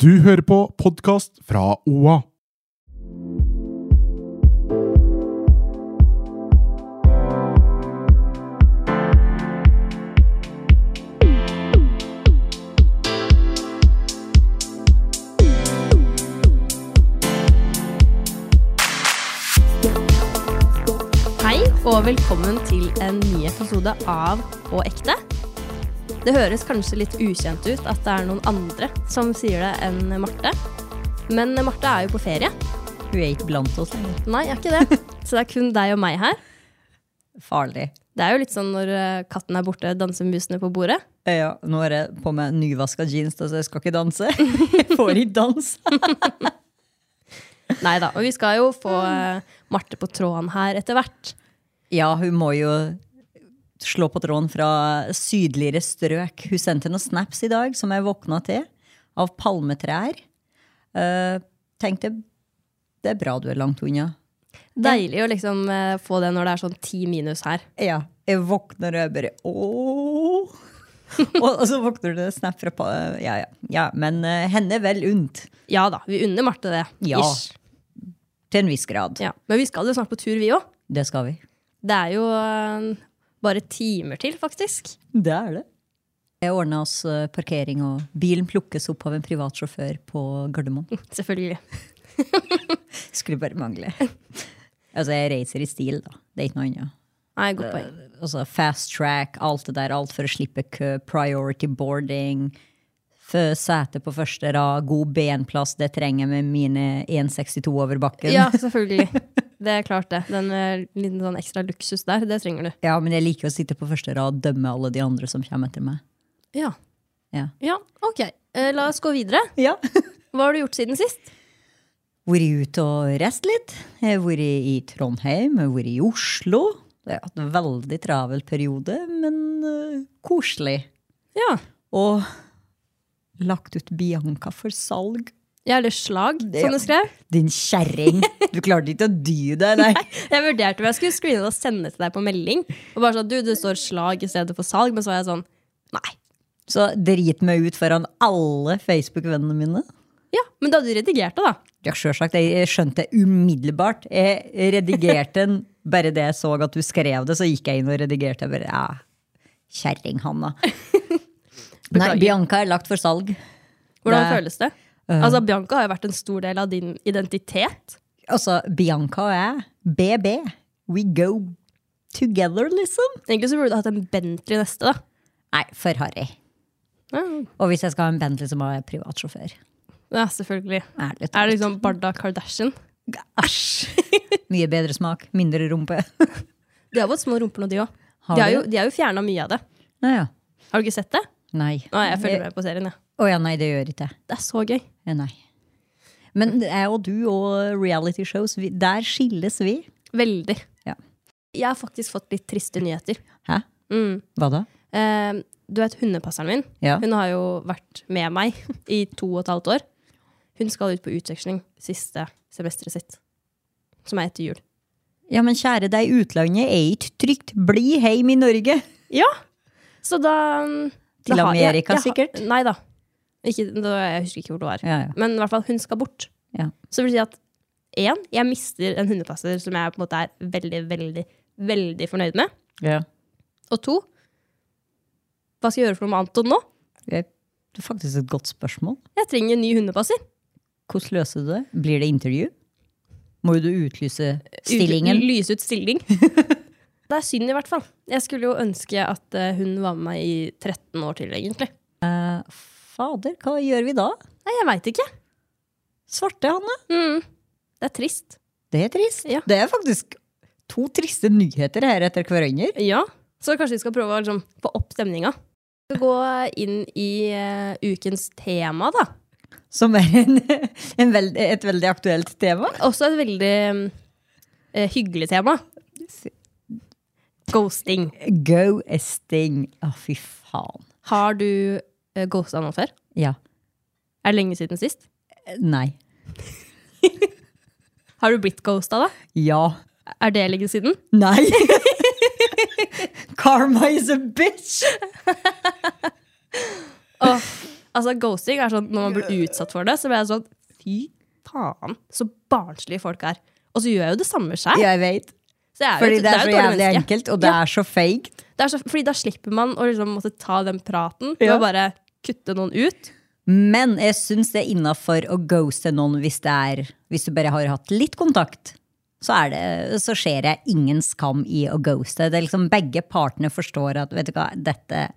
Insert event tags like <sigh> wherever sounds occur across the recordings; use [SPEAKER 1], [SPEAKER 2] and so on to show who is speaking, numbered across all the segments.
[SPEAKER 1] Du hører på podkast fra OA.
[SPEAKER 2] Hei, og velkommen til en ny episode av På ekte. Det høres kanskje litt ukjent ut at det er noen andre som sier det enn Marte. Men Marte er jo på ferie.
[SPEAKER 3] Hun er ikke blant oss lenger.
[SPEAKER 2] Nei, jeg er ikke det. Så det er kun deg og meg her.
[SPEAKER 3] Farlig.
[SPEAKER 2] Det er jo litt sånn når eh, katten er borte, danser musene på bordet.
[SPEAKER 3] Ja, nå har jeg på meg nyvaska jeans, altså jeg skal ikke danse. <laughs> Jeg får ikke danse.
[SPEAKER 2] Nei da. Og vi skal jo få eh, Marte på tråden her etter hvert.
[SPEAKER 3] Ja, hun må jo slå på tråden fra sydligere strøk. Hun sendte noen snaps i dag som jeg våkna til, av palmetrær. Eh, tenkte det er bra du er langt unna.
[SPEAKER 2] Deilig å liksom eh, få det når det er sånn ti minus her.
[SPEAKER 3] Ja, jeg våkner og jeg bare ååå. <laughs> og, og så våkner det en snap fra pa... Ja, ja. ja men eh, henne vel unt.
[SPEAKER 2] Ja da, vi unner Marte det.
[SPEAKER 3] Ja.
[SPEAKER 2] Ish.
[SPEAKER 3] Til en viss grad.
[SPEAKER 2] ja. Men vi skal jo snart på tur, vi òg.
[SPEAKER 3] Det skal vi.
[SPEAKER 2] Det er jo eh, bare timer til, faktisk.
[SPEAKER 3] Det er det. Jeg ordna oss eh, parkering, og bilen plukkes opp av en privat sjåfør på Gardermoen.
[SPEAKER 2] Selvfølgelig.
[SPEAKER 3] Skulle bare <laughs> mangle. Altså, jeg reiser i stil, da. Det er ikke noe annet.
[SPEAKER 2] Nei, godt poeng.
[SPEAKER 3] Altså, fast track, alt det der. Alt for å slippe kø. Priority boarding. fø- Sete på første rad. God benplass. Det trenger jeg med mine 1,62 over bakken.
[SPEAKER 2] Ja, selvfølgelig. Det er klart, det. Den eh, liten sånn ekstra luksus der, det trenger du.
[SPEAKER 3] Ja, men jeg liker å sitte på første rad og dømme alle de andre som kommer etter meg.
[SPEAKER 2] Ja.
[SPEAKER 3] Ja.
[SPEAKER 2] ok. Eh, La oss gå videre.
[SPEAKER 3] Ja.
[SPEAKER 2] Hva har du gjort siden sist?
[SPEAKER 3] vært ute og reist litt. Jeg har vært i Trondheim, jeg har vært i Oslo. Jeg har hatt en veldig travel periode, men eh, koselig.
[SPEAKER 2] Ja.
[SPEAKER 3] Og lagt ut Bianca for salg.
[SPEAKER 2] Jeg eller slag,
[SPEAKER 3] Det-
[SPEAKER 2] som du skrev.
[SPEAKER 3] Din kjerring! Du klarte ikke å dy deg, nei.
[SPEAKER 2] Jeg vurderte om jeg skulle screene det og sende til deg på melding. Og bare sånn, du, det står slag i stedet for salg, men så var jeg sånn, nei.
[SPEAKER 3] Så drit meg ut foran alle Facebook-vennene mine.
[SPEAKER 2] Ja, men da hadde du redigert det, da.
[SPEAKER 3] Ja, sjølsagt. Jeg jeg skjønte det umiddelbart. Jeg redigerte den bare det jeg så at du skrev det, så gikk jeg inn og redigerte. Jeg bare, ja, Kjerring,
[SPEAKER 2] <laughs>
[SPEAKER 3] Hanna. Nei,
[SPEAKER 2] Beklager.
[SPEAKER 3] Bianca er lagt for salg.
[SPEAKER 2] Hvordan
[SPEAKER 3] Det-
[SPEAKER 2] føles det? Altså, Bianca har jo vært en stor del av din identitet.
[SPEAKER 3] Altså, Bianca og jeg, BB, we go together, liksom.
[SPEAKER 2] Egentlig så burde du hatt en Bentley neste, da.
[SPEAKER 3] Nei, for harry. Og hvis jeg skal ha en Bentley, så må jeg ha privatsjåfør.
[SPEAKER 2] Ja, selvfølgelig.
[SPEAKER 3] Ærlig
[SPEAKER 2] Er
[SPEAKER 3] talt.
[SPEAKER 2] det liksom Barda Kardashian?
[SPEAKER 3] Æsj! Mye bedre smak, mindre rumpe. <laughs>
[SPEAKER 2] De har fått små rumper nå, de òg.
[SPEAKER 3] Har
[SPEAKER 2] De har
[SPEAKER 3] de
[SPEAKER 2] jo, de har jo fjerna mye av det.
[SPEAKER 3] Nei, ja.
[SPEAKER 2] Har du ikke sett det?
[SPEAKER 3] Nei.
[SPEAKER 2] Nei, jeg følger med på serien, jeg.
[SPEAKER 3] Å ja, nei, det gjør ikke jeg.
[SPEAKER 2] Det er så gøy.
[SPEAKER 3] Eh, Nei. Men jeg og du og reality shows, vi, der skilles vi.
[SPEAKER 2] Veldig.
[SPEAKER 3] Ja.
[SPEAKER 2] Jeg har faktisk fått litt triste nyheter.
[SPEAKER 3] Hæ?
[SPEAKER 2] Mm.
[SPEAKER 3] Hva da?
[SPEAKER 2] Eh, du vet hundepasseren min?
[SPEAKER 3] Ja.
[SPEAKER 2] Hun har jo vært med meg i to og et halvt år. Hun skal ut på utveksling siste semesteret sitt, som er etter jul.
[SPEAKER 3] Ja, men kjære deg, utlandet er ikke trygt. Bli heim i Norge!
[SPEAKER 2] Ja! Så da mm,
[SPEAKER 3] Til
[SPEAKER 2] da har- jeg-
[SPEAKER 3] Amerika,
[SPEAKER 2] jeg har-
[SPEAKER 3] sikkert?
[SPEAKER 2] Nei da. Ikke, da. Jeg husker ikke hvor det var.
[SPEAKER 3] Ja, ja.
[SPEAKER 2] Men i hvert fall, hun skal bort.
[SPEAKER 3] Ja.
[SPEAKER 2] Så det vil si at én, jeg mister en hundepasser som jeg på en måte er veldig, veldig, veldig fornøyd med. Og to, hva skal jeg gjøre for noe med Anton nå?
[SPEAKER 3] Eh, Det er faktisk et godt spørsmål.
[SPEAKER 2] Jeg trenger en ny hundepasser.
[SPEAKER 3] Hvordan løser du det? Blir det intervju? Må du utlyse stillingen?
[SPEAKER 2] Eh, Ut- Lyse
[SPEAKER 3] <laughs>
[SPEAKER 2] ut stilling. det er synd, i hvert fall. Jeg skulle jo ønske at eh, hun var med meg i 13 år til, egentlig.
[SPEAKER 3] Eh, fader, hva gjør vi da?
[SPEAKER 2] Nei, jeg veit ikke.
[SPEAKER 3] Svarte Hanne?
[SPEAKER 2] Mm. Det er trist.
[SPEAKER 3] Det er trist.
[SPEAKER 2] Ja.
[SPEAKER 3] Det er faktisk to triste nyheter her etter hverandre.
[SPEAKER 2] Ja, så kanskje vi skal prøve å liksom, få opp stemninga. Vi skal gå inn i eh, ukens tema, da.
[SPEAKER 3] som er en, <laughs> en veld, et veldig aktuelt tema.
[SPEAKER 2] Også et veldig eh, hyggelig tema. Ghosting.
[SPEAKER 3] Ghosting. Å, fy faen.
[SPEAKER 2] Har du uh, ghosta noen før?
[SPEAKER 3] Ja.
[SPEAKER 2] Er det lenge siden sist?
[SPEAKER 3] Nei.
[SPEAKER 2] Har du blitt ghosta, da?
[SPEAKER 3] Ja.
[SPEAKER 2] Er det lenge siden?
[SPEAKER 3] Nei! <laughs> Karma is a bitch!
[SPEAKER 2] Åh, altså, ghosting er sånn, når man blir utsatt for det, så blir jeg sånn Fy faen, så barnslige folk er. Og så gjør jeg jo det samme sjøl.
[SPEAKER 3] Jeg vet.
[SPEAKER 2] Så jeg er jo
[SPEAKER 3] Fordi
[SPEAKER 2] et-
[SPEAKER 3] det er
[SPEAKER 2] jeg jo
[SPEAKER 3] så
[SPEAKER 2] et dårlig
[SPEAKER 3] jævlig
[SPEAKER 2] menneske.
[SPEAKER 3] enkelt, og det
[SPEAKER 2] Ja.
[SPEAKER 3] er så fake.
[SPEAKER 2] Det er så, fordi da slipper man å liksom måtte ta den praten ved
[SPEAKER 3] Ja.
[SPEAKER 2] å bare kutte noen ut.
[SPEAKER 3] Men jeg syns det er innafor å ghoste noen hvis, det er, hvis du bare har hatt litt kontakt. Så, er det, så skjer det ingen skam i å ghoste. Det er liksom Begge partene forstår at vet du hva, dette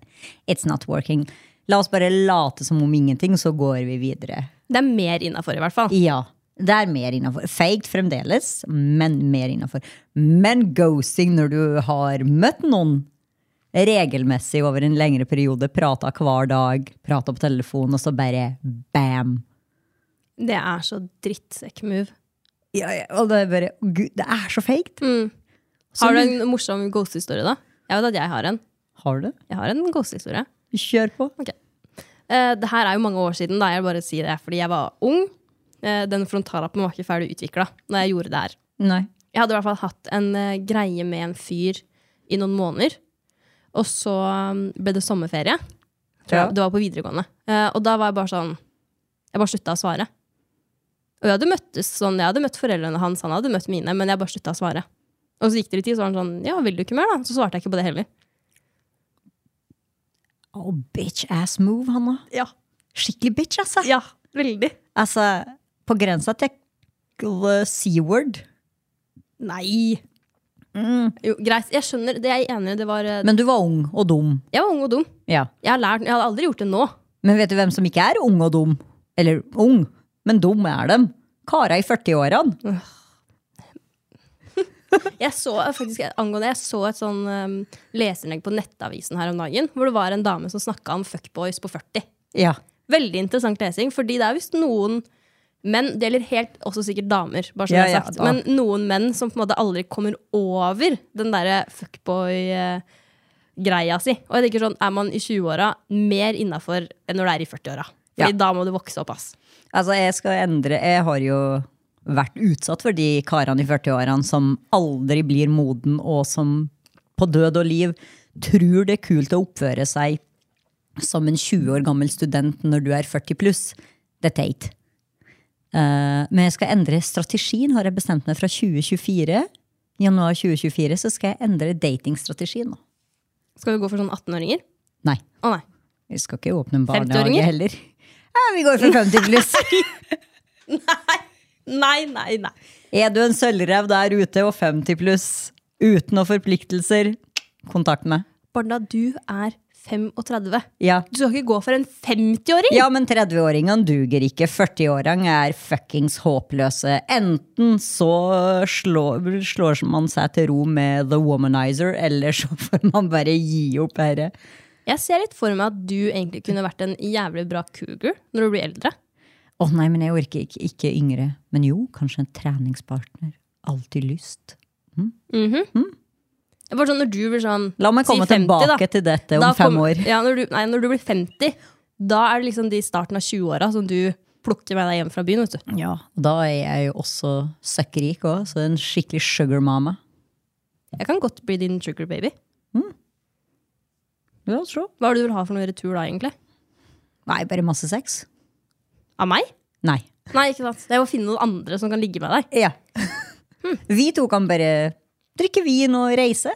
[SPEAKER 3] It's not working. La oss bare late som om ingenting, så går vi videre.
[SPEAKER 2] Det er mer innafor, i hvert fall.
[SPEAKER 3] Ja. Det er mer innafor. Feigt fremdeles, men mer innafor. Men ghosting når du har møtt noen regelmessig over en lengre periode, prata hver dag, prata på telefon, og så bare bam!
[SPEAKER 2] Det er så drittsekk-move.
[SPEAKER 3] Ja, ja, og det er bare å Gud, det er så feigt!
[SPEAKER 2] Har du en morsom ghost-historie, da? Jeg vet at jeg har en.
[SPEAKER 3] Har du det?
[SPEAKER 2] Jeg har en ghost-historie.
[SPEAKER 3] Kjør på.
[SPEAKER 2] Eh, det her er jo mange år siden, da jeg bare sier det, fordi jeg var ung. Eh, den frontallappen var ikke ferdig utvikla når jeg gjorde det her.
[SPEAKER 3] Nei.
[SPEAKER 2] Jeg hadde i hvert fall hatt en eh, greie med en fyr i noen måneder. Og så um, ble det sommerferie. Tror jeg.
[SPEAKER 3] Ja.
[SPEAKER 2] Det var på videregående. Eh, og da var jeg bare sånn Jeg bare slutta å svare. Og jeg hadde møttes sånn, jeg hadde møtt foreldrene hans, han hadde møtt mine, men jeg bare slutta å svare. Og så gikk det litt tid, så var han sånn Ja, vil du ikke mer, da? Så svarte jeg ikke på det heller.
[SPEAKER 3] Oh, bitch ass move, Hanna.
[SPEAKER 2] Ja.
[SPEAKER 3] Skikkelig bitch, altså.
[SPEAKER 2] Ja, veldig.
[SPEAKER 3] Altså, på grensa til eh, C-word.
[SPEAKER 2] Nei! Jo, greit. Jeg skjønner, det er jeg enig i. Det var eh,
[SPEAKER 3] Men du var ung og dum.
[SPEAKER 2] Jeg var ung og dum.
[SPEAKER 3] Ja.
[SPEAKER 2] Jeg, har lært, jeg hadde aldri gjort det nå.
[SPEAKER 3] Men vet du hvem som ikke er ung og dum? Eller ung, men dum er dem. Kara i 40-årene.
[SPEAKER 2] Jeg så faktisk angående, jeg så et sånn um, leserinnlegg på Nettavisen her om dagen, hvor det var en dame som snakka om fuckboys på 40.
[SPEAKER 3] Ja.
[SPEAKER 2] Veldig interessant lesing, fordi det er visst noen menn, det gjelder helt også sikkert damer, bare så
[SPEAKER 3] Ja,
[SPEAKER 2] det
[SPEAKER 3] ja,
[SPEAKER 2] er sagt,
[SPEAKER 3] da.
[SPEAKER 2] men noen menn som på en måte aldri kommer over den derre fuckboy-greia si. Og jeg tenker sånn, er man i 20-åra mer innafor enn når det er i 40-åra?
[SPEAKER 3] Ja.
[SPEAKER 2] Fordi da må du vokse opp, ass.
[SPEAKER 3] Altså, jeg skal endre Jeg har jo vært utsatt for de karene i 40-årene som aldri blir moden, og som på død og liv tror det er kult å oppføre seg som en 20 år gammel student når du er 40 pluss. Det er teit. Eh, men jeg skal endre strategien, har jeg bestemt meg fra 2024. Januar 2024 så skal jeg endre datingstrategien. nå.
[SPEAKER 2] Skal vi gå for sånn 18-åringer?
[SPEAKER 3] Nei.
[SPEAKER 2] Å nei.
[SPEAKER 3] Vi skal ikke åpne en
[SPEAKER 2] 50-åringer?
[SPEAKER 3] barnehage heller. Ja, vi går for 50 pluss.
[SPEAKER 2] Nei, nei, nei.
[SPEAKER 3] Er du en sølvrev der ute og 50 pluss uten noen forpliktelser, kontakt meg.
[SPEAKER 2] Barna, du er 35.
[SPEAKER 3] Ja.
[SPEAKER 2] Du skal ikke gå for en 50-åring!
[SPEAKER 3] ja, men 30-åringene duger ikke. 40-åringene er fuckings håpløse. Enten så slår, slår man seg til ro med The Womanizer, eller så får man bare gi opp dette.
[SPEAKER 2] Jeg ser litt for meg at du egentlig kunne vært en jævlig bra cougar når du blir eldre.
[SPEAKER 3] Å nei, men jeg orker ikke, ikke yngre. Men jo, kanskje en treningspartner. Alltid lyst.
[SPEAKER 2] Det er Bare sånn når du blir sånn
[SPEAKER 3] La meg
[SPEAKER 2] si
[SPEAKER 3] komme
[SPEAKER 2] 50, da.
[SPEAKER 3] tilbake til dette om
[SPEAKER 2] Da
[SPEAKER 3] fem
[SPEAKER 2] kommer-
[SPEAKER 3] år.
[SPEAKER 2] Ja, når du, nei, når du blir 50, da er det liksom de starten av 20-åra som du plukker med deg hjem fra byen. vet du.
[SPEAKER 3] Ja, og da er jeg jo også søkkrik òg, så en skikkelig sugar mama.
[SPEAKER 2] Jeg kan godt bli din sugar baby.
[SPEAKER 3] Ja, så.
[SPEAKER 2] Hva er det du vil ha for noe i retur da, egentlig?
[SPEAKER 3] Nei, bare masse sex.
[SPEAKER 2] Av meg?
[SPEAKER 3] Nei.
[SPEAKER 2] Nei, ikke sant. Jeg må finne noen andre som kan ligge med deg.
[SPEAKER 3] <laughs> Ja. Hm. Vi to kan bare drikke vin og reise.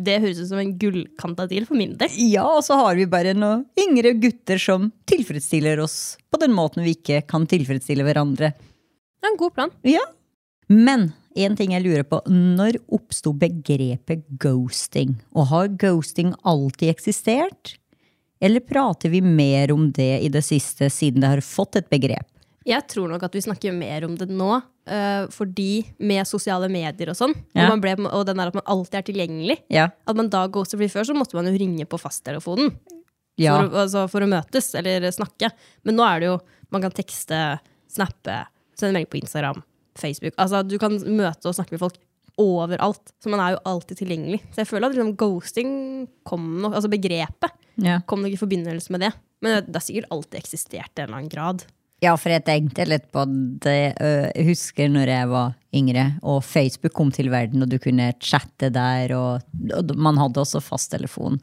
[SPEAKER 2] Det høres ut som en gullkanta deal for min del.
[SPEAKER 3] Ja, og så har vi bare noen yngre gutter som tilfredsstiller oss på den måten vi ikke kan tilfredsstille hverandre.
[SPEAKER 2] Det er en god plan.
[SPEAKER 3] Ja. Men en ting jeg lurer på. Når oppsto begrepet ghosting? Og har ghosting alltid eksistert? Eller prater vi mer om det i det siste, siden det har fått et begrep?
[SPEAKER 2] Jeg tror nok at vi snakker mer om det nå, eh, fordi med sosiale medier og sånn,
[SPEAKER 3] Ja.
[SPEAKER 2] og, man ble, og den der at man alltid er tilgjengelig,
[SPEAKER 3] Ja.
[SPEAKER 2] at man da ghoster, fordi før så måtte man jo ringe på fasttelefonen.
[SPEAKER 3] Ja.
[SPEAKER 2] for, å- altså, for å møtes eller snakke. Men nå er det jo Man kan tekste, snappe, sende melding på Instagram, Facebook. Altså, du kan møte og snakke med folk overalt. Så man er jo alltid tilgjengelig. Så jeg føler at liksom, ghosting kom nok Altså begrepet
[SPEAKER 3] Ja.
[SPEAKER 2] kom nok i forbindelse med det. Men det har sikkert alltid eksistert i en eller annen grad.
[SPEAKER 3] Ja, for jeg tenkte litt på det. øh, Jeg husker når jeg var yngre, og Facebook kom til verden, og du kunne chatte der. Og, og man hadde også fasttelefon.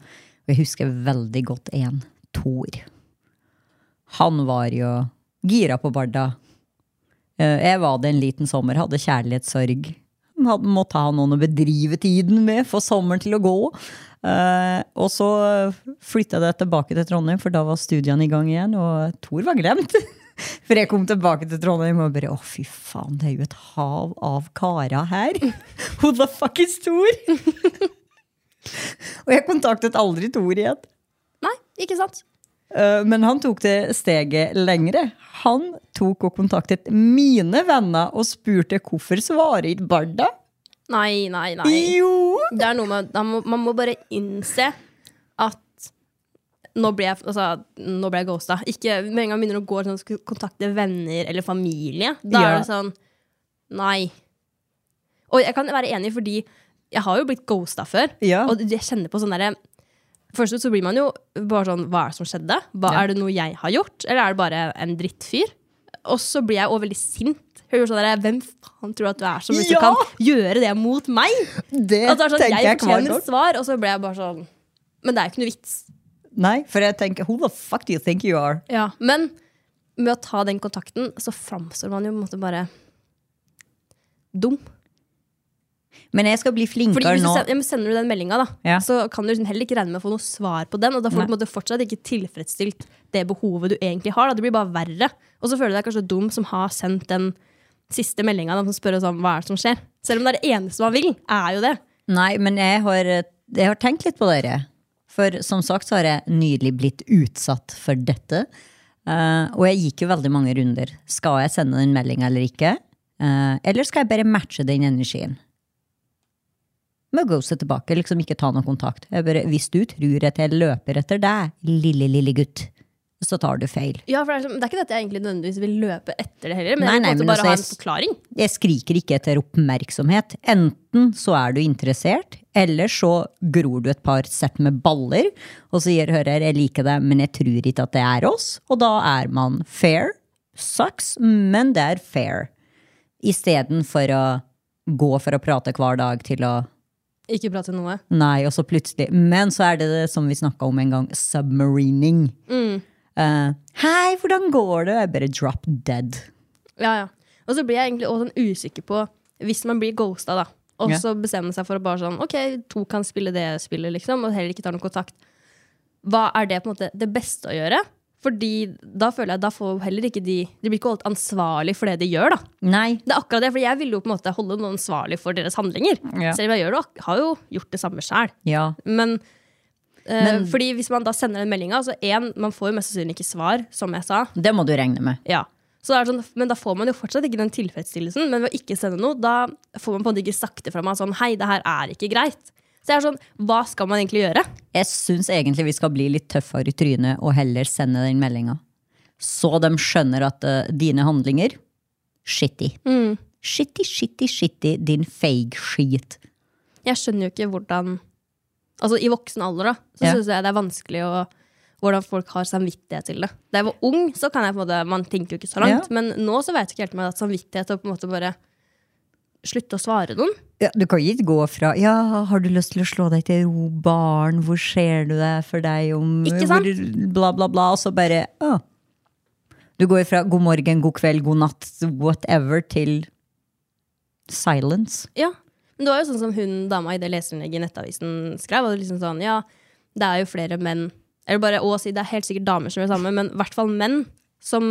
[SPEAKER 3] Og jeg husker veldig godt en, Tor. Han var jo gira på Barda. Eh, Jeg var det en liten sommer, hadde kjærlighetssorg. Hadde, måtte ha noen å bedrive tiden med, få sommeren til å gå. Eh, og så flytta jeg tilbake til Trondheim, for da var studiene i gang igjen, og Tor var glemt. <laughs> For jeg kom tilbake til Trondheim og bare Å, fy faen, det er jo et hav av kara her! <laughs> Who the fuck is Tor? <laughs> og jeg kontaktet aldri Tor igjen.
[SPEAKER 2] Nei, ikke sant?
[SPEAKER 3] Eh, Men han tok det steget lengre. Han tok og kontaktet mine venner og spurte hvorfor svarer ikke Barda?
[SPEAKER 2] Nei, nei, nei.
[SPEAKER 3] Jo!
[SPEAKER 2] Det er noe med, da må, man må bare innse at nå ble jeg, altså, nå ble jeg ghosta. Ikke, med en gang man begynner å gå sånn, skal kontakte venner eller familie, da
[SPEAKER 3] Ja.
[SPEAKER 2] er det sånn Nei. Og jeg kan være enig, fordi jeg har jo blitt ghosta før.
[SPEAKER 3] Ja.
[SPEAKER 2] Og jeg kjenner på sånn derre Først ut så blir man jo bare sånn Hva er det som skjedde? Hva,
[SPEAKER 3] Ja.
[SPEAKER 2] Er det noe jeg har gjort, eller er det bare en drittfyr? Og så blir jeg også veldig sint. Jeg blir sånn der, Hvem faen tror du at du er som liksom
[SPEAKER 3] Ja!
[SPEAKER 2] kan gjøre det mot meg?
[SPEAKER 3] Det
[SPEAKER 2] At det er
[SPEAKER 3] tenker
[SPEAKER 2] sånn, jeg
[SPEAKER 3] Altså, jeg hvert
[SPEAKER 2] fortjener
[SPEAKER 3] år.
[SPEAKER 2] svar, og så ble jeg bare sånn Men det er jo ikke noe vits.
[SPEAKER 3] Nei, for jeg tenker Who the fuck do you think you are?
[SPEAKER 2] Men med å ta den kontakten, så framstår man jo på en måte bare dum.
[SPEAKER 3] Men jeg skal bli
[SPEAKER 2] Fordi
[SPEAKER 3] flinkere
[SPEAKER 2] hvis du
[SPEAKER 3] nå.
[SPEAKER 2] sender, ja, men sender du den meldinga, da,
[SPEAKER 3] Ja.
[SPEAKER 2] så kan du liksom heller ikke regne med å få noe svar på den. Og da får du på en måte fortsatt ikke tilfredsstilt det behovet du egentlig har. Da. Det blir bare verre. Og så føler du deg kanskje dum som har sendt den siste meldinga som spør sånn, hva er det som skjer. Selv om det er det eneste man vil, er jo det.
[SPEAKER 3] Nei, men jeg har, jeg har tenkt litt på dere. For som sagt så har jeg nylig blitt utsatt for dette. Eh, og jeg gikk jo veldig mange runder. Skal jeg sende den meldinga eller ikke? Eh, eller skal jeg bare matche den energien? Med å ghoste tilbake, liksom ikke ta noe kontakt. Jeg bare, hvis du tror at jeg løper etter deg, lille, lille gutt, så tar du feil.
[SPEAKER 2] Ja, for det er, liksom, det er ikke det at jeg egentlig nødvendigvis vil løpe etter det heller, men
[SPEAKER 3] Nei,
[SPEAKER 2] jeg
[SPEAKER 3] nei,
[SPEAKER 2] vil på en måte
[SPEAKER 3] men
[SPEAKER 2] bare ha
[SPEAKER 3] altså,
[SPEAKER 2] en forklaring.
[SPEAKER 3] Jeg skriker ikke etter oppmerksomhet. Enten så er du interessert, eller så gror du et par sett med baller og sier 'hører, jeg liker deg, men jeg tror ikke at det er oss'. Og da er man fair. Sucks, men det er fair. Istedenfor å gå for å prate hver dag til å
[SPEAKER 2] Ikke prate noe.
[SPEAKER 3] Nei, og så plutselig. Men så er det det som vi snakka om en gang, submarining. Eh, Hei, hvordan går det? Jeg bare drop dead.
[SPEAKER 2] Ja, ja. Og så blir jeg egentlig også sånn usikker på, hvis man blir ghosta, da, og
[SPEAKER 3] Ja.
[SPEAKER 2] så bestemmer seg for å bare sånn, ok, to kan spille det spillet, liksom, og heller ikke tar noen kontakt. Hva er det på en måte det beste å gjøre? Fordi da føler jeg, da får heller ikke de, de blir ikke holdt ansvarlig for det de gjør, da.
[SPEAKER 3] Nei.
[SPEAKER 2] Det er akkurat det, for jeg vil jo på en måte holde noen ansvarlig for deres handlinger.
[SPEAKER 3] Ja.
[SPEAKER 2] Selv om jeg gjør det, ak- har jo gjort det samme selv.
[SPEAKER 3] Ja.
[SPEAKER 2] Men, eh, fordi hvis man da sender den meldinga altså en, Man får jo mest sannsynlig ikke svar, som jeg sa.
[SPEAKER 3] Det må du regne med.
[SPEAKER 2] Ja. Så det er sånn, men da får man jo fortsatt ikke den tilfredsstillelsen. Men ved å ikke sende noe, da får man på en måte ikke sakte fra meg sånn Hei, det her er ikke greit. Så jeg er sånn, hva skal man egentlig gjøre?
[SPEAKER 3] Jeg syns egentlig vi skal bli litt tøffere i trynet og heller sende den meldinga. Så de skjønner at eh, dine handlinger shitty.
[SPEAKER 2] Mm.
[SPEAKER 3] Shitty, shitty, shitty, din fake skit.
[SPEAKER 2] Jeg skjønner jo ikke hvordan Altså i voksen alder, da, så
[SPEAKER 3] Ja.
[SPEAKER 2] syns jeg det er vanskelig å hvordan folk har samvittighet til det. Da jeg var ung, så kan jeg på en måte, man tenker jo ikke så langt.
[SPEAKER 3] Ja.
[SPEAKER 2] Men nå så vet jeg ikke helt med at samvittighet og på en måte bare slutte å svare noen.
[SPEAKER 3] Ja, du kan ikke gå fra 'ja, har du lyst til å slå deg til ro, barn, hvor ser du deg for deg om
[SPEAKER 2] Ikke sant?
[SPEAKER 3] hvor- bla, bla, bla', og så bare «Å». Du går fra 'god morgen, god kveld, god natt, whatever' til silence.
[SPEAKER 2] Ja, men det var jo sånn som hun dama i det leserinnlegget i Nettavisen skrev. Og liksom sånn, ja, det er jo flere menn Eller bare å si det er helt sikkert damer som gjør det samme, men i hvert fall menn som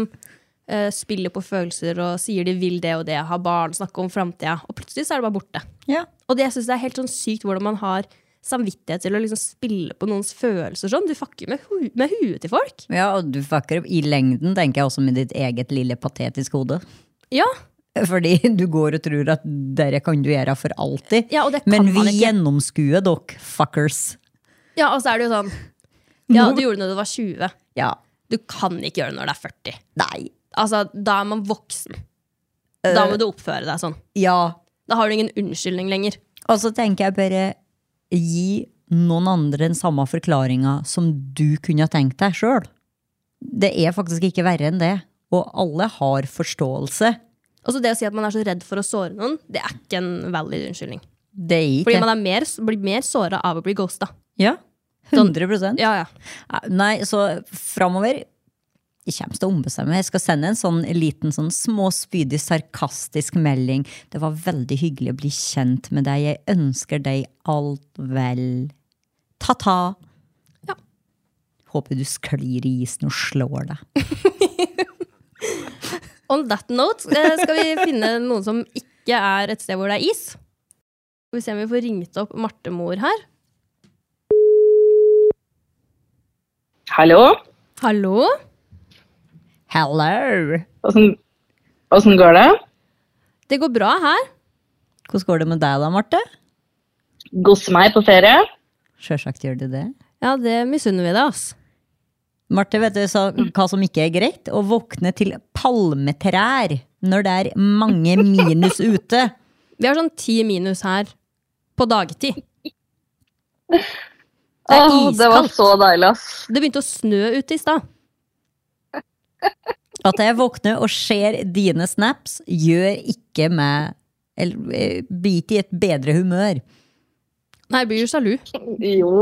[SPEAKER 2] eh, spiller på følelser og sier de vil det og det, har barn, snakker om framtida, og plutselig så er det bare borte.
[SPEAKER 3] Ja.
[SPEAKER 2] Og det jeg synes det er helt sånn sykt hvordan man har samvittighet til å liksom spille på noens følelser sånn. Du fucker med, hu med huet til folk.
[SPEAKER 3] Ja, og du fucker opp i lengden, tenker jeg også med ditt eget lille patetiske hode. <laughs>
[SPEAKER 2] Ja,
[SPEAKER 3] Fordi du går og tror at dere kan du gjøre for alltid.
[SPEAKER 2] Ja, og det kan
[SPEAKER 3] Men
[SPEAKER 2] man
[SPEAKER 3] vi
[SPEAKER 2] ikke.
[SPEAKER 3] gjennomskuer dere, fuckers.
[SPEAKER 2] Ja, og så er det jo sånn Ja, du gjorde det når du var 20.
[SPEAKER 3] Ja.
[SPEAKER 2] Du kan ikke gjøre det når du er 40.
[SPEAKER 3] Nei.
[SPEAKER 2] Altså, Da er man voksen. Da må du oppføre deg sånn.
[SPEAKER 3] Ja.
[SPEAKER 2] Da har du ingen unnskyldning lenger.
[SPEAKER 3] Og så tenker jeg bare gi noen andre den samme forklaringa som du kunne ha tenkt deg sjøl. Det er faktisk ikke verre enn det. Og alle har forståelse.
[SPEAKER 2] Og så Det å si at man er så redd for å såre noen, det er ikke en valid unnskyldning.
[SPEAKER 3] Det er ikke
[SPEAKER 2] Fordi man er mer, blir mer såra av å bli ghosta.
[SPEAKER 3] Ja. 100
[SPEAKER 2] Sånn- Ja, ja.
[SPEAKER 3] Nei, så framover jeg kommer til å ombestemme meg. Jeg skal sende en sånn liten, sånn småspydig, sarkastisk melding. Det var veldig hyggelig å bli kjent med deg. Jeg ønsker deg alt vel. Ta-ta.
[SPEAKER 2] Ja.
[SPEAKER 3] Håper du sklir i isen og slår deg.
[SPEAKER 2] On that note eh, skal vi finne noen som ikke er et sted hvor det er is. Skal vi se om vi får ringt opp Martemor her.
[SPEAKER 4] Hallo?
[SPEAKER 2] Hallo?
[SPEAKER 3] Hello!
[SPEAKER 4] Åssen åssen går det?
[SPEAKER 2] Det går bra her.
[SPEAKER 3] Hvordan går det med deg da, Marte?
[SPEAKER 4] Gosse meg på ferie?
[SPEAKER 3] Sjølsagt gjør det det.
[SPEAKER 2] Ja, det misunner vi deg, ass.
[SPEAKER 3] Marte, vet du så, hva som ikke er greit? Å våkne til palmetrær når det er mange minus ute.
[SPEAKER 2] Vi har sånn ti minus her på dagtid.
[SPEAKER 4] Det,
[SPEAKER 2] er
[SPEAKER 4] det var
[SPEAKER 2] iskaldt.
[SPEAKER 4] så deilig, ass.
[SPEAKER 2] Det begynte å snø ute i stad.
[SPEAKER 3] At jeg våkner og ser dine snaps, gjør ikke meg eller, eh, Bit i et bedre humør.
[SPEAKER 2] Nei, jeg blir jo sjalu.
[SPEAKER 4] Jo.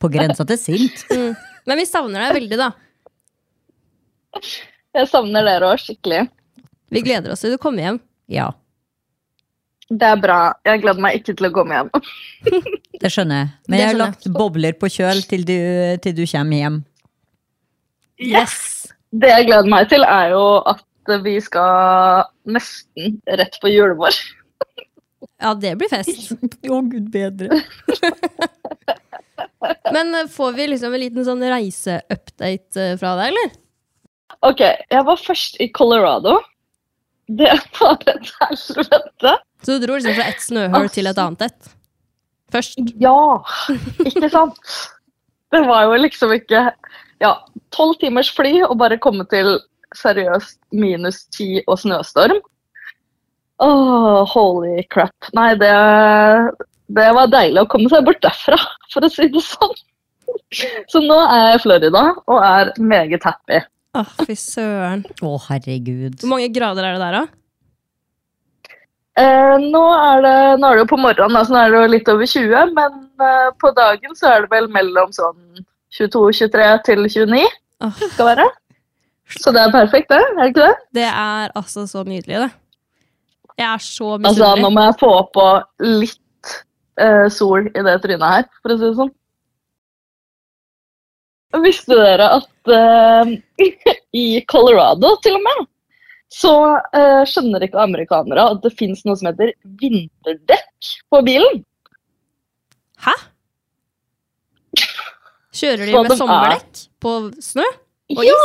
[SPEAKER 3] På grensa til sint.
[SPEAKER 2] Mm. Men vi savner deg veldig, da.
[SPEAKER 4] Jeg savner dere òg skikkelig.
[SPEAKER 2] Vi gleder oss til du kommer hjem.
[SPEAKER 3] Ja,
[SPEAKER 4] Det er bra. Jeg gleder meg ikke til å komme hjem.
[SPEAKER 3] det skjønner jeg. Men
[SPEAKER 2] Det
[SPEAKER 3] jeg har
[SPEAKER 2] skjønner
[SPEAKER 3] lagt bobler på kjøl til du, til du kommer hjem.
[SPEAKER 4] Yes! Det jeg gleder meg til, er jo at vi skal nesten rett på julebord.
[SPEAKER 2] Ja, det blir fest.
[SPEAKER 3] Å, gud bedre.
[SPEAKER 2] Men eh, får vi liksom en liten sånn reiseupdate eh, fra deg, eller?
[SPEAKER 4] Ok, jeg var først i Colorado. Det var et helvete.
[SPEAKER 2] Så du dro liksom fra ett snøhull til et annet et? Først.
[SPEAKER 4] Ja, ikke sant? Det var jo liksom ikke Ja, tolv timers fly og bare komme til seriøst minus ti og snøstorm. Åh, holy crap. Nei, det, det var deilig å komme seg bort derfra, for å si det sånn. Så nå er jeg i Florida og er meget happy.
[SPEAKER 2] Å, fy søren.
[SPEAKER 3] Å, herregud.
[SPEAKER 2] Hvor mange grader er det der, da?
[SPEAKER 4] Eh, nå, er det, nå er det jo på morgenen, da, så nå er det jo litt over 20, men eh, på dagen så er det vel mellom sånn 22-23 til 29
[SPEAKER 2] Åh.
[SPEAKER 4] skal være. Så det er perfekt, det. Er det ikke det?
[SPEAKER 2] Det er altså så nydelig, det. Jeg er så
[SPEAKER 4] Altså,
[SPEAKER 2] misunnelig.
[SPEAKER 4] nå må jeg få på litt eh, sol i det trynet her, for å si det sånn. Visste dere at eh, <laughs> i Colorado, til og med, så eh, skjønner ikke amerikanere at det fins noe som heter vinterdekk på bilen?
[SPEAKER 2] Hæ? Kjører de
[SPEAKER 4] Så
[SPEAKER 2] med
[SPEAKER 4] de er-
[SPEAKER 2] sommerdekk på snø? Og
[SPEAKER 4] ja!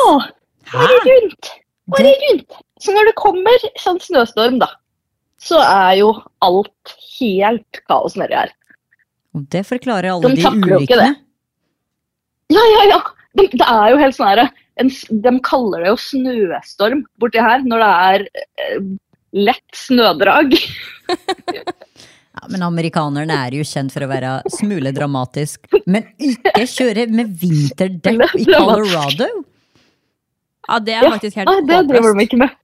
[SPEAKER 4] Bare
[SPEAKER 3] Hæ?
[SPEAKER 4] rundt. Bare rundt. Så når det kommer sånn snøstorm, da, så er jo alt helt kaos nedi her.
[SPEAKER 3] Og det forklarer alle
[SPEAKER 4] De
[SPEAKER 3] de
[SPEAKER 4] takler jo ikke
[SPEAKER 3] ulykkene.
[SPEAKER 4] Ja, ja, ja. De, det er jo helt sånn her en, s- De kaller det jo snøstorm borti her når det er eh, lett snødrag.
[SPEAKER 3] Ja, men amerikanerne er jo kjent for å være smule dramatisk. Men ikke kjøre med vinterdekk i Colorado!
[SPEAKER 2] Ja, det er
[SPEAKER 4] Ja.
[SPEAKER 2] faktisk helt
[SPEAKER 4] <laughs> Nei, det driver de ikke med.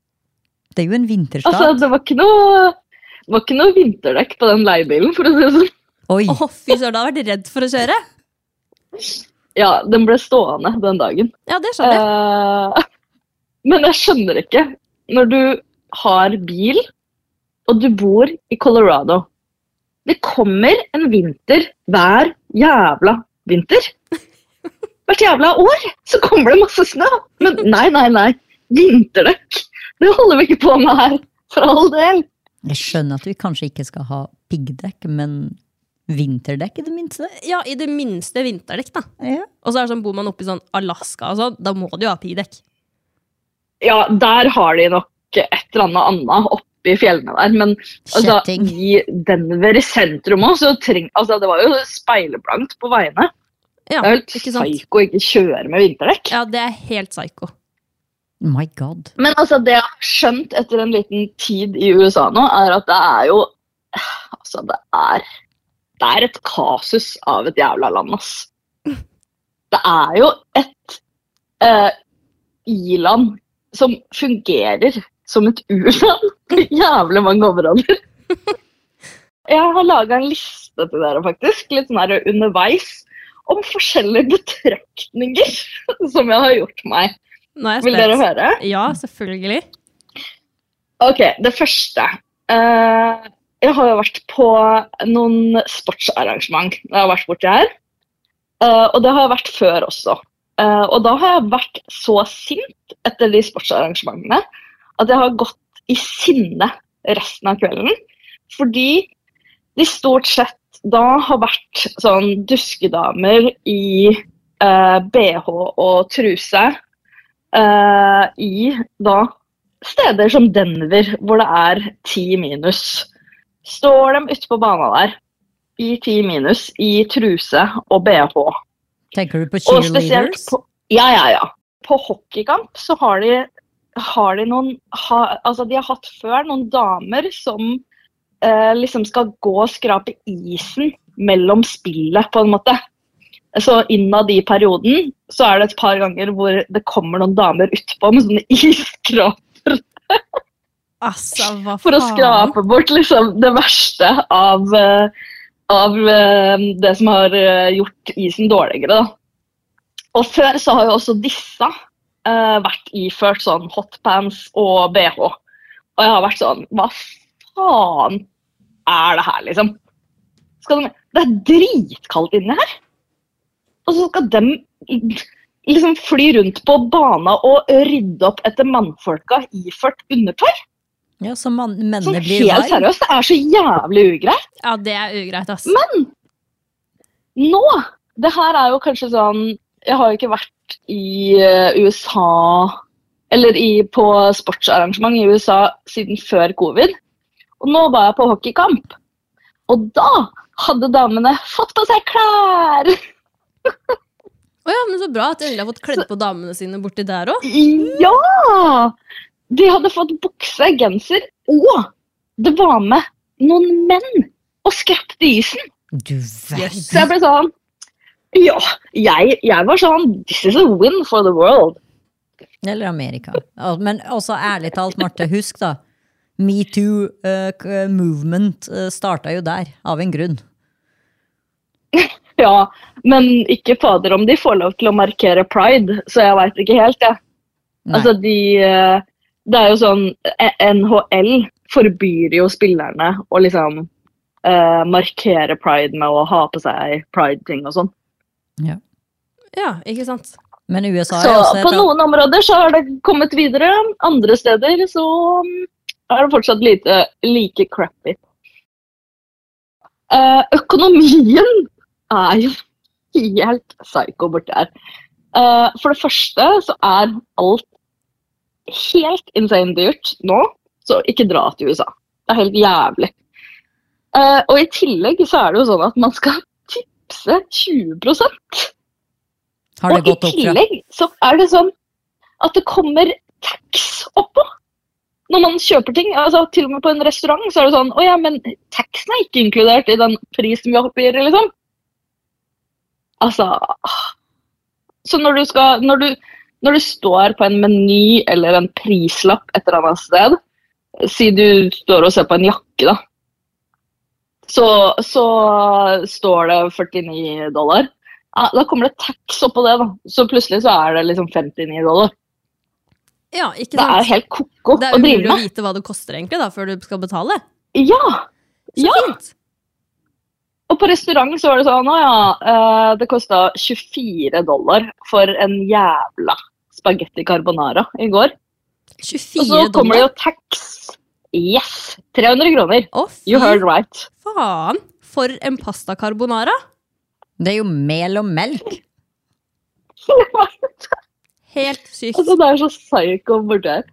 [SPEAKER 3] Det er jo en vinterstat.
[SPEAKER 4] Altså, det var ikke noe det var ikke noe vinterdekk på den leiebilen, for å si det sånn.
[SPEAKER 3] Oi,
[SPEAKER 2] Å, fy søren, da har jeg vært redd for å kjøre.
[SPEAKER 4] Ja, den ble stående den dagen.
[SPEAKER 2] Ja, det skjønner jeg.
[SPEAKER 4] Eh, men jeg skjønner ikke. Når du har bil, og du bor i Colorado Det kommer en vinter hver jævla vinter. Hvert jævla år så kommer det masse snø. Men nei, nei, nei. Vinterdekk, det holder vi ikke på med her. For all del.
[SPEAKER 3] jeg skjønner at vi kanskje ikke skal ha piggdekk, men vinterdekk i det minste.
[SPEAKER 2] Ja, i det minste vinterdekk, da.
[SPEAKER 3] Ja.
[SPEAKER 2] Og så er det sånn, bor man oppe i sånn Alaska og sånn, da må du jo ha piggdekk.
[SPEAKER 4] Ja, der har de nok et eller annet annet oppe i fjellene der. Men altså,
[SPEAKER 3] Kjetting.
[SPEAKER 4] i Denver i sentrum òg, så treng... Altså, det var jo speilblankt på veiene.
[SPEAKER 2] Ja,
[SPEAKER 4] Det er helt
[SPEAKER 2] ikke sant?
[SPEAKER 4] psyko å ikke kjøre med vinterdekk.
[SPEAKER 2] Ja, det er helt psycho.
[SPEAKER 3] My god.
[SPEAKER 4] Men altså, det jeg har skjønt etter en liten tid i USA nå, er at det er jo Altså, det er Det er et kasus av et jævla land, ass. Det er jo et eh, i-land som fungerer som et u-land på jævlig mange områder. Jeg har laga en liste til dere, faktisk, litt sånn her underveis, om forskjellige betraktninger som jeg har gjort meg.
[SPEAKER 2] Nå er jeg
[SPEAKER 4] Vil dere
[SPEAKER 2] spent.
[SPEAKER 4] høre?
[SPEAKER 2] Ja, selvfølgelig.
[SPEAKER 4] Ok, det første. Eh, jeg har jo vært på noen sportsarrangement når jeg har vært borti her. Eh, og det har jeg vært før også. Eh, og da har jeg vært så sint etter de sportsarrangementene at jeg har gått i sinne resten av kvelden. Fordi de stort sett da har vært sånn duskedamer i eh, bh og truse eh, i da steder som Denver, hvor det er 10 minus, står de ute på banen der i 10 minus i truse og bh.
[SPEAKER 3] Tenker du på
[SPEAKER 4] Og spesielt
[SPEAKER 3] cheerleaders?
[SPEAKER 4] på, ja, ja, ja. på hockeykamp så har de, har de noen ha, Altså, de har hatt før noen damer som eh, liksom skal gå og skrape isen mellom spillet, på en måte. Så innad i perioden så er det et par ganger hvor det kommer noen damer utpå med sånne <laughs> isskrap
[SPEAKER 2] Altså, hva faen?
[SPEAKER 4] for å skrape bort liksom, det verste av, eh, av eh, det som har eh, gjort isen dårligere. Da. Og før så har jo også disse eh, vært iført sånn hotpants og bh. Og jeg har vært sånn Hva faen er det her, liksom? Skal de, det er dritkaldt inni her! Og så skal dem liksom fly rundt på bana og rydde opp etter mannfolka iført undertøy!
[SPEAKER 3] Ja, så man, mennene
[SPEAKER 4] Sånn
[SPEAKER 3] blir varme.
[SPEAKER 4] helt seriøst, det er så jævlig ugreit.
[SPEAKER 2] Ja, det er ugreit, ass.
[SPEAKER 4] Nå! Det her er jo kanskje sånn Jeg har jo ikke vært i eh, USA Eller i, på sportsarrangement i USA siden før covid. Og nå var jeg på hockeykamp. Og da hadde damene fått på seg klær!
[SPEAKER 2] Å ja, men så bra at de endelig har fått kledd på damene sine borti der òg.
[SPEAKER 4] Ja! De hadde fått bukse, genser, og det var med noen menn og skrapte isen.
[SPEAKER 3] Du verden.
[SPEAKER 4] Så jeg ble sånn Ja, jeg, jeg var sånn This is a win for the world.
[SPEAKER 3] Eller Amerika. Al- Men også ærlig talt, Marte, husk da. eh, Metoo-movement uh, starta jo der, av en grunn.
[SPEAKER 4] Ja, men ikke fader om de får lov til å markere pride, så jeg veit ikke helt, jeg.
[SPEAKER 3] Nei.
[SPEAKER 4] Altså, de eh, Det er jo sånn eh, NHL forbyr jo spillerne å liksom eh, markere pride med å ha på seg pride-ting og sånn.
[SPEAKER 2] Ja, ikke sant?
[SPEAKER 3] Men USA
[SPEAKER 4] Så
[SPEAKER 3] er også et
[SPEAKER 4] på noen områder så har det kommet videre. Andre steder så mm, er det fortsatt lite, like crappy. Eh, økonomien er jo <laughs> helt psycho borti her. Eh, for det første så er alt helt insane dyrt nå, så ikke dra til USA. Det er helt jævlig. Eh, og i tillegg så er det jo sånn at man skal <laughs> tipse 20
[SPEAKER 3] Har det
[SPEAKER 4] og i
[SPEAKER 3] gått opp fra
[SPEAKER 4] tillegg så er det sånn at det kommer tax oppå. Når man kjøper ting, altså til og med på en restaurant, så er det sånn Å ja, men taxen er ikke inkludert i den prisen vi oppgir, liksom. Altså ah. Så når du skal Når du, når du står på en meny eller en prislapp et eller annet sted, si du står og ser på en jakke, da, så, så står det 49 dollar. Ja, da kommer det tax oppå det, da. Så plutselig så er det liksom 59 dollar.
[SPEAKER 2] Ja, ikke
[SPEAKER 4] Det er jo
[SPEAKER 2] sant?
[SPEAKER 4] helt ko-ko
[SPEAKER 2] Det
[SPEAKER 4] å
[SPEAKER 2] er umulig
[SPEAKER 4] drive
[SPEAKER 2] å
[SPEAKER 4] med.
[SPEAKER 2] vite hva det koster egentlig da, før du skal betale.
[SPEAKER 4] Ja!
[SPEAKER 2] Så
[SPEAKER 4] Ja.
[SPEAKER 2] fint!
[SPEAKER 4] Og på restaurant så var det sånn, å ja, eh, det kosta 24 dollar for en jævla spagetti carbonara i går. Og
[SPEAKER 2] 24
[SPEAKER 4] så kommer
[SPEAKER 2] dollar.
[SPEAKER 4] det jo tax. Yes! 300 kroner.
[SPEAKER 2] Å, fy
[SPEAKER 4] You heard right. <laughs>
[SPEAKER 2] faen! For en pasta carbonara!
[SPEAKER 3] Det er jo mel og melk!
[SPEAKER 4] altså,
[SPEAKER 2] Helt sykt.
[SPEAKER 4] det er så psycho borti her.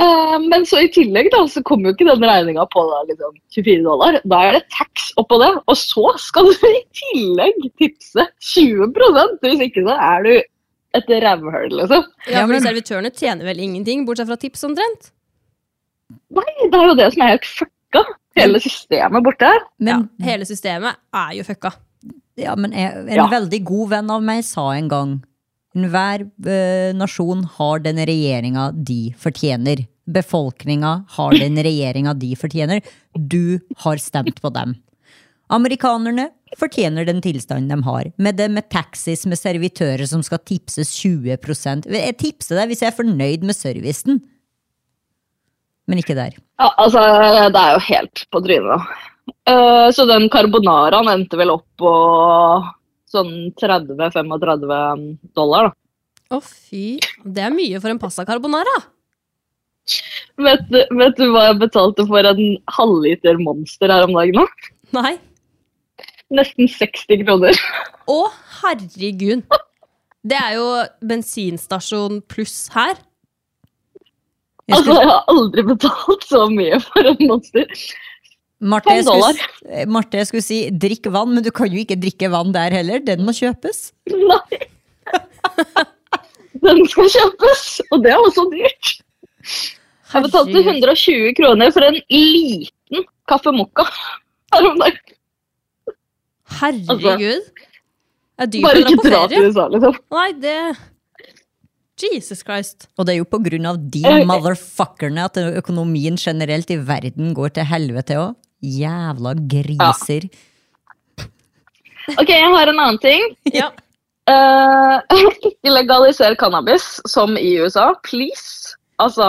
[SPEAKER 4] Eh, men så i tillegg da, så kommer jo ikke den regninga på da, liksom, 24 dollar. Da er det tax oppå det. Og så skal du i tillegg tipse 20 Hvis ikke så er du et rævhøl, liksom.
[SPEAKER 2] Ja,
[SPEAKER 3] Ja,
[SPEAKER 2] fordi
[SPEAKER 3] men-
[SPEAKER 2] servitørene tjener vel ingenting, bortsett fra tips omtrent.
[SPEAKER 4] Nei, det er jo det som er helt fucka. Hele systemet borte her.
[SPEAKER 3] Men, ja.
[SPEAKER 2] Hele systemet er jo fucka.
[SPEAKER 3] men jeg, en
[SPEAKER 4] Ja.
[SPEAKER 3] veldig god venn av meg sa en gang Enhver eh, nasjon har den regjeringa de fortjener. Befolkninga har
[SPEAKER 4] <laughs>
[SPEAKER 3] den regjeringa de fortjener. Du har stemt på dem. Amerikanerne fortjener den tilstanden de har, med det med taxis med servitører som skal tipses 20 Jeg tipser deg hvis jeg er fornøyd med servicen. Men ikke der.
[SPEAKER 4] Ja, altså, det er jo helt på trynet. Eh, så den carbonaraen endte vel opp på sånn 30-35 dollar, da.
[SPEAKER 2] Å, fy. Det er mye for en pasta carbonara.
[SPEAKER 4] Vet, du- vet du hva jeg betalte for en halvliter Monster her om dagen? da?
[SPEAKER 2] Nei.
[SPEAKER 4] Nesten
[SPEAKER 2] <laughs>
[SPEAKER 4] 60 kroner.
[SPEAKER 2] Å, herregud. Det er jo bensinstasjon pluss her.
[SPEAKER 3] Jeg
[SPEAKER 4] Altså, jeg har aldri betalt så mye for en Monster.
[SPEAKER 3] Marte, jeg
[SPEAKER 4] Fem dollar.
[SPEAKER 3] skulle, Marte, jeg skulle si drikk vann, men du kan jo ikke drikke vann der heller. Den må kjøpes.
[SPEAKER 4] Nei! Den skal kjøpes, og det er også dyrt. Jeg betalte
[SPEAKER 2] Herregud.
[SPEAKER 4] 120 kroner for en liten caffè mocca her om dagen.
[SPEAKER 2] Herregud. Det er dyrt
[SPEAKER 4] Altså, Bare
[SPEAKER 2] å dra
[SPEAKER 4] ikke
[SPEAKER 2] på
[SPEAKER 4] dra til
[SPEAKER 2] ferie.
[SPEAKER 4] USA, liksom.
[SPEAKER 2] Nei, det Jesus Christ.
[SPEAKER 3] Og det er jo på grunn av de
[SPEAKER 4] Eh, eh.
[SPEAKER 3] motherfuckerne at økonomien generelt i verden går til helvete òg. Jævla griser.
[SPEAKER 4] Ok, jeg har en annen ting. <laughs>
[SPEAKER 2] Ja.
[SPEAKER 4] Eh, <laughs> ikke legaliser cannabis, som i USA. Please. Altså,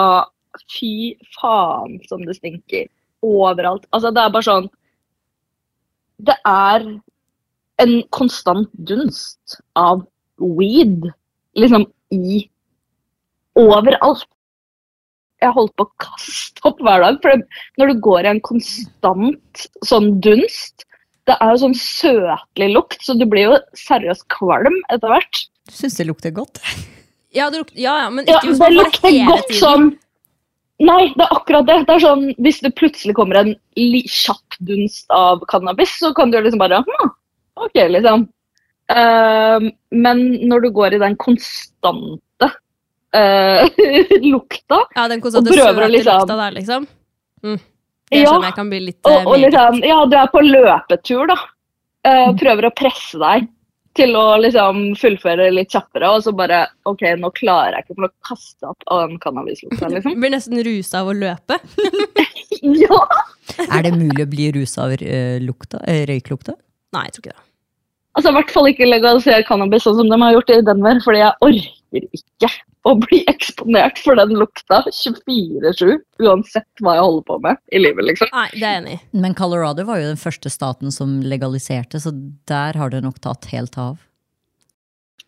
[SPEAKER 4] fy faen som det stinker overalt. Altså, det er bare sånn Det er en konstant dunst av weed, liksom, i Overalt. Jeg holdt på å kaste opp hver dag. For det, når du går i en konstant sånn dunst, det er jo sånn søtlig lukt, så du blir jo seriøst kvalm etter hvert.
[SPEAKER 3] Syns det lukter godt.
[SPEAKER 2] Ja, det luk ja, ja, men ikke
[SPEAKER 4] Ja,
[SPEAKER 2] hvis
[SPEAKER 4] det
[SPEAKER 2] man får
[SPEAKER 4] lukter
[SPEAKER 2] hele
[SPEAKER 4] godt
[SPEAKER 2] tiden.
[SPEAKER 4] sånn Nei, det er akkurat det. Det er sånn, Hvis det plutselig kommer en li kjapp dunst av cannabis, så kan du liksom bare hm, OK, liksom. Ehm, men når du går i den konstante eh, <laughs> lukta,
[SPEAKER 2] Ja, den
[SPEAKER 4] Og
[SPEAKER 2] konstante
[SPEAKER 4] prøver å
[SPEAKER 2] søte
[SPEAKER 4] liksom-
[SPEAKER 2] lukta der, liksom. Mm. Jeg
[SPEAKER 4] Ja,
[SPEAKER 2] skjønner jeg kan bli litt eh,
[SPEAKER 4] og, og
[SPEAKER 2] meget.
[SPEAKER 4] liksom, ja, du er på løpetur, da. Eh, prøver å presse deg til å liksom fullføre litt kjappere, og så bare OK, nå klarer jeg ikke for å kaste opp av den cannabislukta,
[SPEAKER 2] <laughs>
[SPEAKER 4] liksom.
[SPEAKER 2] Blir nesten rusa av å løpe.
[SPEAKER 4] Ja!
[SPEAKER 3] <laughs> Er det mulig å bli rusa av eh, lukta, eh, røyklukta?
[SPEAKER 2] Nei, jeg tror ikke det.
[SPEAKER 4] Altså, I hvert fall ikke legalisere cannabis sånn som de har gjort i Denver, fordi jeg orker ikke å bli <laughs> eksponert for den lukta 24-7, uansett hva jeg holder på med i livet, liksom.
[SPEAKER 2] Nei, det er jeg enig i.
[SPEAKER 3] Men Colorado var jo den første staten som legaliserte, så der har det nok tatt helt av.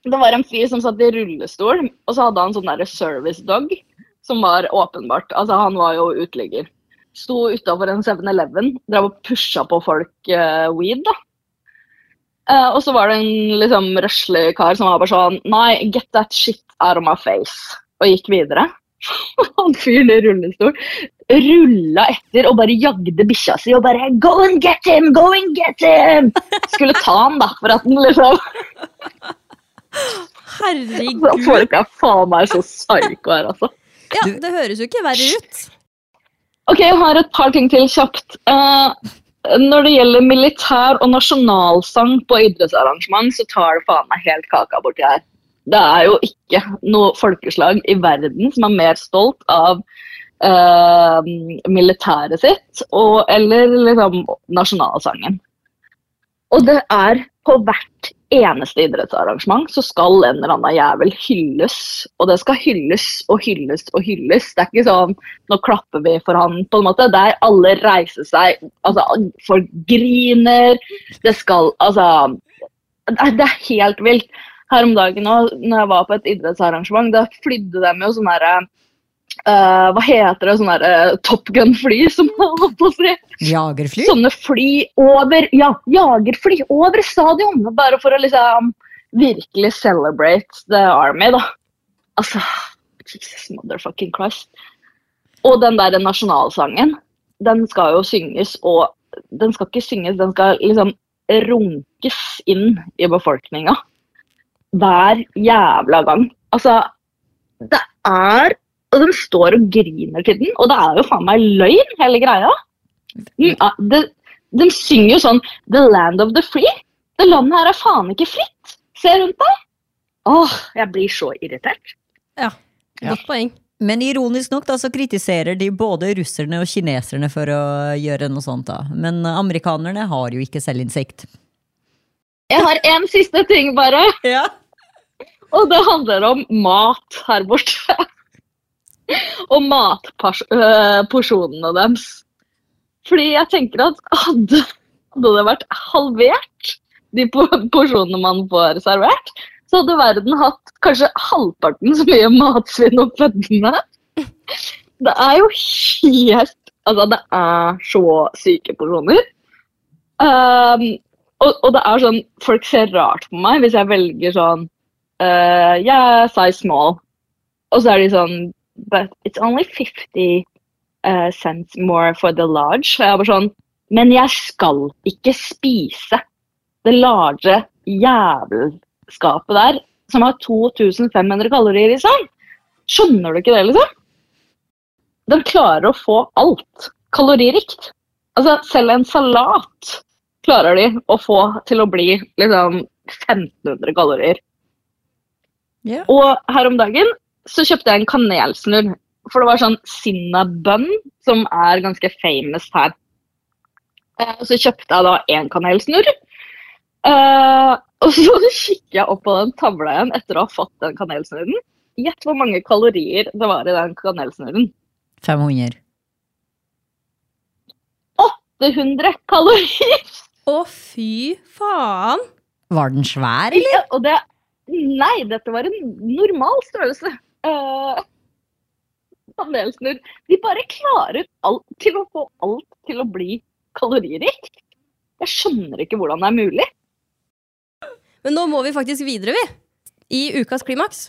[SPEAKER 4] Det var en fyr som satt i rullestol, og så hadde han sånn der service dog, som var åpenbart. Altså, han var jo uteligger. Sto utafor en 7-Eleven, drev og pusha på folk eh, weed, da. Eh, og så var det en liksom røslig kar som var bare sånn Nei, get that shit out of my face. Og gikk videre. <laughs> han fyren i rullestol rulla etter og bare jagde bikkja si og bare Go and get him! Go and get him! Skulle ta han, da, for at den liksom da
[SPEAKER 2] Herregud.
[SPEAKER 4] får ikke jeg faen meg så psyko her, altså.
[SPEAKER 2] Ja, det høres jo ikke verre ut.
[SPEAKER 4] Ok, jeg har et par ting til kjapt. Eh, når det gjelder militær og nasjonalsang på idrettsarrangement, så tar det faen meg helt kaka borti her. Det er jo ikke noe folkeslag i verden som er mer stolt av eh, militæret sitt og, eller liksom nasjonalsangen. Og det er på hvert eneste idrettsarrangement så skal en eller annen jævel hylles. Og det skal hylles og hylles og hylles. Det er ikke sånn nå klapper vi for han, på en måte. Der alle reiser seg, altså folk griner, det skal Altså det- Det er helt vilt. Her om dagen nå, når jeg var på et idrettsarrangement, da flydde de jo sånn herre eh, Hva heter det, sånn herre Top Gun-fly, som jeg holdt på å si.
[SPEAKER 3] Jagerfly?
[SPEAKER 4] Sånne fly over Ja, jagerfly over stadion! Bare for å liksom virkelig celebrate the army, da. Altså Jesus motherfucking Christ. Og den der nasjonalsangen, den skal jo synges, og den skal ikke synges, den skal liksom runkes inn i befolkninga. Hver jævla gang. Altså, det er Og de står og griner til den, og det er jo faen meg løgn, hele greia. Den er- det- ah, De synger jo sånn The land of the free. Det landet her er faen ikke fritt. Se rundt deg. Åh, jeg blir så irritert.
[SPEAKER 2] Ja, godt poeng.
[SPEAKER 3] Men ironisk nok da, så kritiserer de både russerne og kineserne for å gjøre noe sånt. da. Men amerikanerne har jo ikke selvinnsikt.
[SPEAKER 4] Jeg har en siste ting, bare.
[SPEAKER 3] Ja.
[SPEAKER 4] Og det handler om mat her borte. <laughs> og matporsjonene deres. Fordi jeg tenker at hadde, hadde det vært halvert, de po- porsjonene man får servert, så hadde verden hatt kanskje halvparten så mye matsvinn og føddene. Det er jo helt Altså, det er så syke porsjoner. Um, og, og det er sånn Folk ser rart på meg hvis jeg velger sånn uh, Yeah, size small. Og så er de sånn But it's only 50 uh, cents more for the large. Og jeg er bare sånn Men jeg skal ikke spise det large jævelskapet der som har 2500 kalorier i seg. Skjønner du ikke det, liksom? De klarer å få alt kaloririkt. Altså, selv en salat klarer de å få til å bli liksom 1500 kalorier.
[SPEAKER 3] Ja.
[SPEAKER 4] Og her om dagen så kjøpte jeg en kanelsnurr. For det var sånn cinnabun, som er ganske famous her. Eh, Så kjøpte jeg da en kanelsnurr. Eh, og så <laughs> kikker jeg opp på den tavla igjen etter å ha fått den kanelsnurren. Gjett hvor mange kalorier det var i den kanelsnurren.
[SPEAKER 3] 500.
[SPEAKER 4] 800 kalorier!
[SPEAKER 2] Å, fy faen!
[SPEAKER 3] Var den svær, eller?
[SPEAKER 4] Ja, og det Nei, dette var en normal størrelse. Eh, Kanelsnurr. De bare klarer alt, til å få alt til å bli kaloririkt. Jeg skjønner ikke hvordan det er mulig.
[SPEAKER 2] Men nå må vi faktisk videre, vi. I ukas klimaks.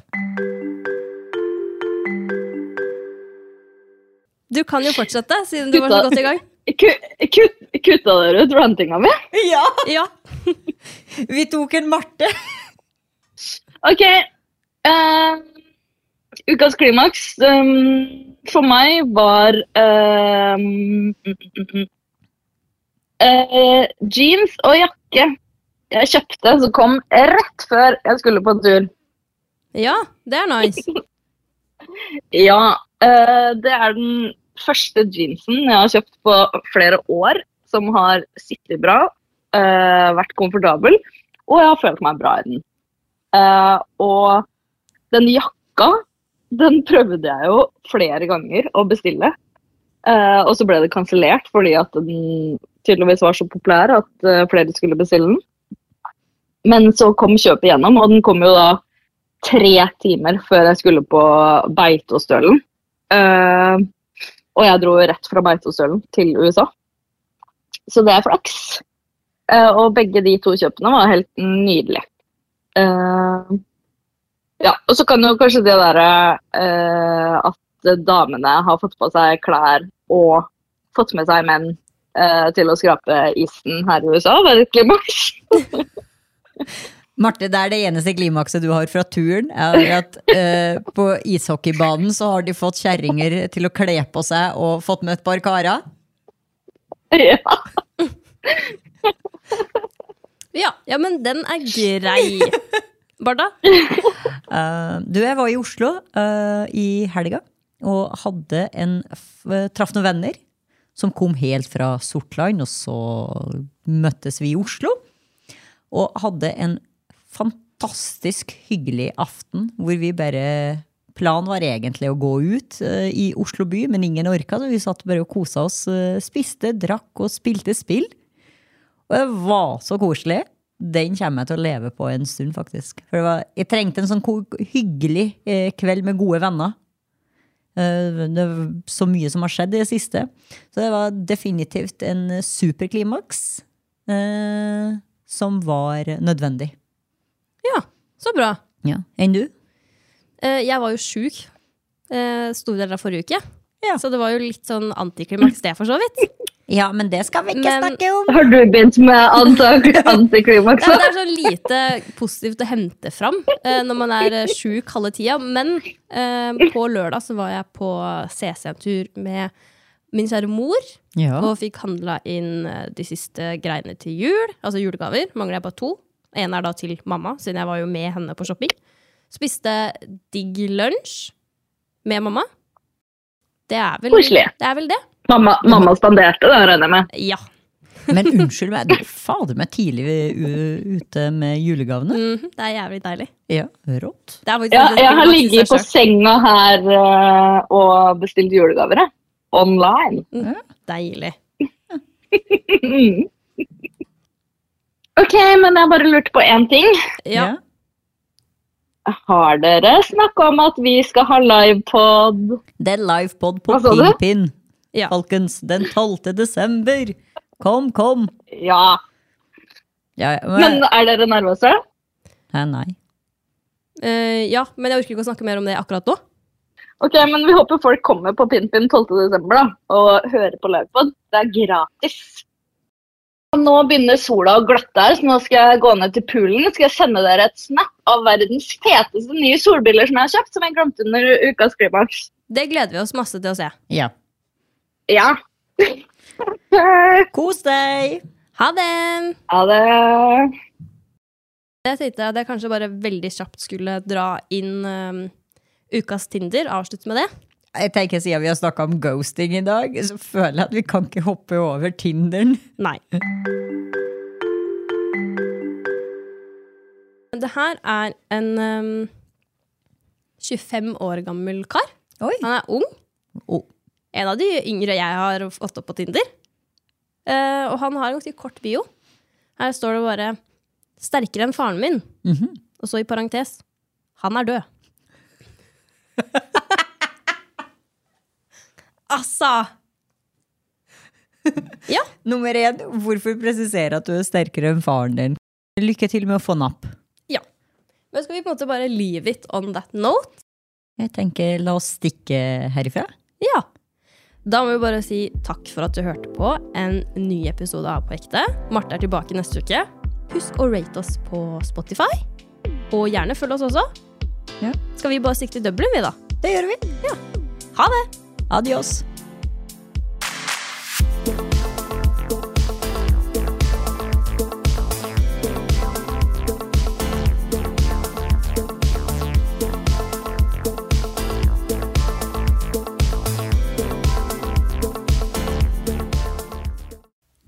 [SPEAKER 2] Du kan jo fortsette, siden du var så
[SPEAKER 4] Gutta.
[SPEAKER 2] godt i gang.
[SPEAKER 4] Ku- kut- Kutta dere ut rantinga mi?
[SPEAKER 3] Ja!
[SPEAKER 2] Ja,
[SPEAKER 3] Vi tok en Marte.
[SPEAKER 4] Ok. eh, ukas klimaks ehm, for meg var ehm, mm, mm, mm. Eh, jeans og jakke jeg kjøpte som kom rett før jeg skulle på tur.
[SPEAKER 2] ja det er nice.
[SPEAKER 4] Ja, eh, det er den første jeansen jeg har kjøpt på flere år, som har sittet bra, eh, vært komfortabel, og jeg har følt meg bra i den. Eh, og den jakka, den prøvde jeg jo flere ganger å bestille, eh, og så ble det kansellert fordi at den tydeligvis var så populær at eh, flere skulle bestille den. Men så kom kjøpet gjennom, og den kom jo da tre timer før jeg skulle på Beitostølen. Eh, og jeg dro rett fra Beitostølen til USA. Så det er flaks. Eh, og begge de to kjøpene var helt nydelige. Eh, ja, og så kan jo kanskje det derre eh, at damene har fått på seg klær og fått med seg menn eh, til å skrape isen her i USA, være et klimaks.
[SPEAKER 3] Marte, det er det eneste klimakset du har fra turen. er at eh, På ishockeybanen så har de fått kjerringer til å kle på seg og fått med et par karer.
[SPEAKER 4] ja.
[SPEAKER 2] Ja, ja, men den er grei. Barda?
[SPEAKER 3] Eh, du, jeg var i Oslo eh, i helga og hadde en f eh, traff noen venner som kom helt fra Sortland, og så møttes vi i Oslo. Og hadde en fantastisk hyggelig aften hvor vi bare Planen var egentlig å gå ut eh, i Oslo by, men ingen orka, så vi satt bare og kosa oss. eh, spiste, drakk og spilte spill. Og det var så koselig. Den kommer jeg til å leve på en stund, faktisk. For det var, jeg trengte en sånn ko- hyggelig eh, kveld med gode venner. Eh, det er så mye som har skjedd i det siste. Så det var definitivt en superklimaks eh, som var nødvendig.
[SPEAKER 2] Ja, så bra.
[SPEAKER 3] Ja. Enn du?
[SPEAKER 2] Eh, Jeg var jo sjuk eh, store deler av forrige uke.
[SPEAKER 3] Ja.
[SPEAKER 2] Så det var jo litt sånn antiklimaks, det, for så vidt.
[SPEAKER 3] Ja, men det skal vi ikke
[SPEAKER 2] Men-
[SPEAKER 3] snakke om!
[SPEAKER 4] Har du begynt med antak- antiklimaks?
[SPEAKER 2] Ja, det er så lite positivt å hente fram eh, når man er eh, sjuk halve tida. Men eh, på lørdag så var jeg på CC-tur med min kjære mor.
[SPEAKER 3] Ja. <laughs>
[SPEAKER 2] Og fikk handla inn eh, de siste greiene til jul. Altså julegaver. Mangler jeg bare to. En er da til mamma, siden jeg var jo med henne på shopping. Spiste digg lunsj med mamma. Det er vel
[SPEAKER 4] Koselig.
[SPEAKER 2] Det er vel det?
[SPEAKER 4] Mamma, mamma spanderte, det regner jeg med.
[SPEAKER 2] Ja.
[SPEAKER 3] Men unnskyld meg, du fader meg tidlig u- ute med julegavene.
[SPEAKER 2] Mhm, det er jævlig deilig.
[SPEAKER 3] Ja, rått.
[SPEAKER 2] Det er faktisk
[SPEAKER 4] Ja,
[SPEAKER 2] det
[SPEAKER 4] jeg har
[SPEAKER 2] som
[SPEAKER 4] ligget på
[SPEAKER 2] synes er
[SPEAKER 4] senga her eh, og bestilt julegaver. jeg. Online.
[SPEAKER 2] så Deilig.
[SPEAKER 4] Mm. Ok, men jeg bare lurte på én ting.
[SPEAKER 2] Ja.
[SPEAKER 4] Har dere snakka om at vi skal ha livepod?
[SPEAKER 3] Det er livepod på
[SPEAKER 4] Hva sa du?
[SPEAKER 3] Pinpin,
[SPEAKER 2] Ja.
[SPEAKER 3] folkens. Den 12. desember. Kom, kom!
[SPEAKER 4] Ja.
[SPEAKER 3] Ja, ja,
[SPEAKER 4] Men er dere nervøse?
[SPEAKER 3] Hæ, nei.
[SPEAKER 2] Eh, ja, men jeg orker ikke å snakke mer om det akkurat nå.
[SPEAKER 4] Ok, men Vi håper folk kommer på Pinpin 12.12. da, og hører på livepod. Det er gratis. Og Nå begynner sola å glatte her, så nå skal jeg gå ned til poolen skal jeg sende dere et snap av verdens feteste nye solbriller som jeg har kjøpt, som jeg glemte under ukas klimaks.
[SPEAKER 2] Det gleder vi oss masse til å se.
[SPEAKER 3] Ja.
[SPEAKER 4] Ja. <laughs>
[SPEAKER 3] Kos deg!
[SPEAKER 2] Ha det!
[SPEAKER 4] Ha det.
[SPEAKER 2] Jeg tenkte at jeg kanskje bare veldig kjapt skulle dra inn eh, ukas Tinder. Avslutte med det.
[SPEAKER 3] Jeg tenker Siden vi har snakka om ghosting i dag, så føler jeg at vi kan ikke hoppe over Tinderen.
[SPEAKER 2] Nei. Men Det her er en ehm, 25 år gammel kar.
[SPEAKER 3] Oi.
[SPEAKER 2] Han er ung.
[SPEAKER 3] Oh.
[SPEAKER 2] En av de yngre jeg har fått opp på Tinder. Eh, og han har en ganske kort bio. Her står det bare 'sterkere enn faren min', og så i parentes 'han er død'. altså! Ja.
[SPEAKER 3] Nummer én, hvorfor presisere at du er sterkere enn faren din? Lykke til med å få napp.
[SPEAKER 2] Men skal vi på en måte bare leave it on that note?
[SPEAKER 3] Jeg tenker la oss stikke herifra.
[SPEAKER 2] Ja. Da må vi bare si takk for at du hørte på en ny episode av På ekte. Marte er tilbake neste uke. Husk å rate oss på Spotify. Og gjerne følg oss også.
[SPEAKER 3] Ja.
[SPEAKER 2] Skal vi bare stikke til Dublin, vi, da?
[SPEAKER 3] Det gjør vi.
[SPEAKER 2] Ha det!
[SPEAKER 3] Adios.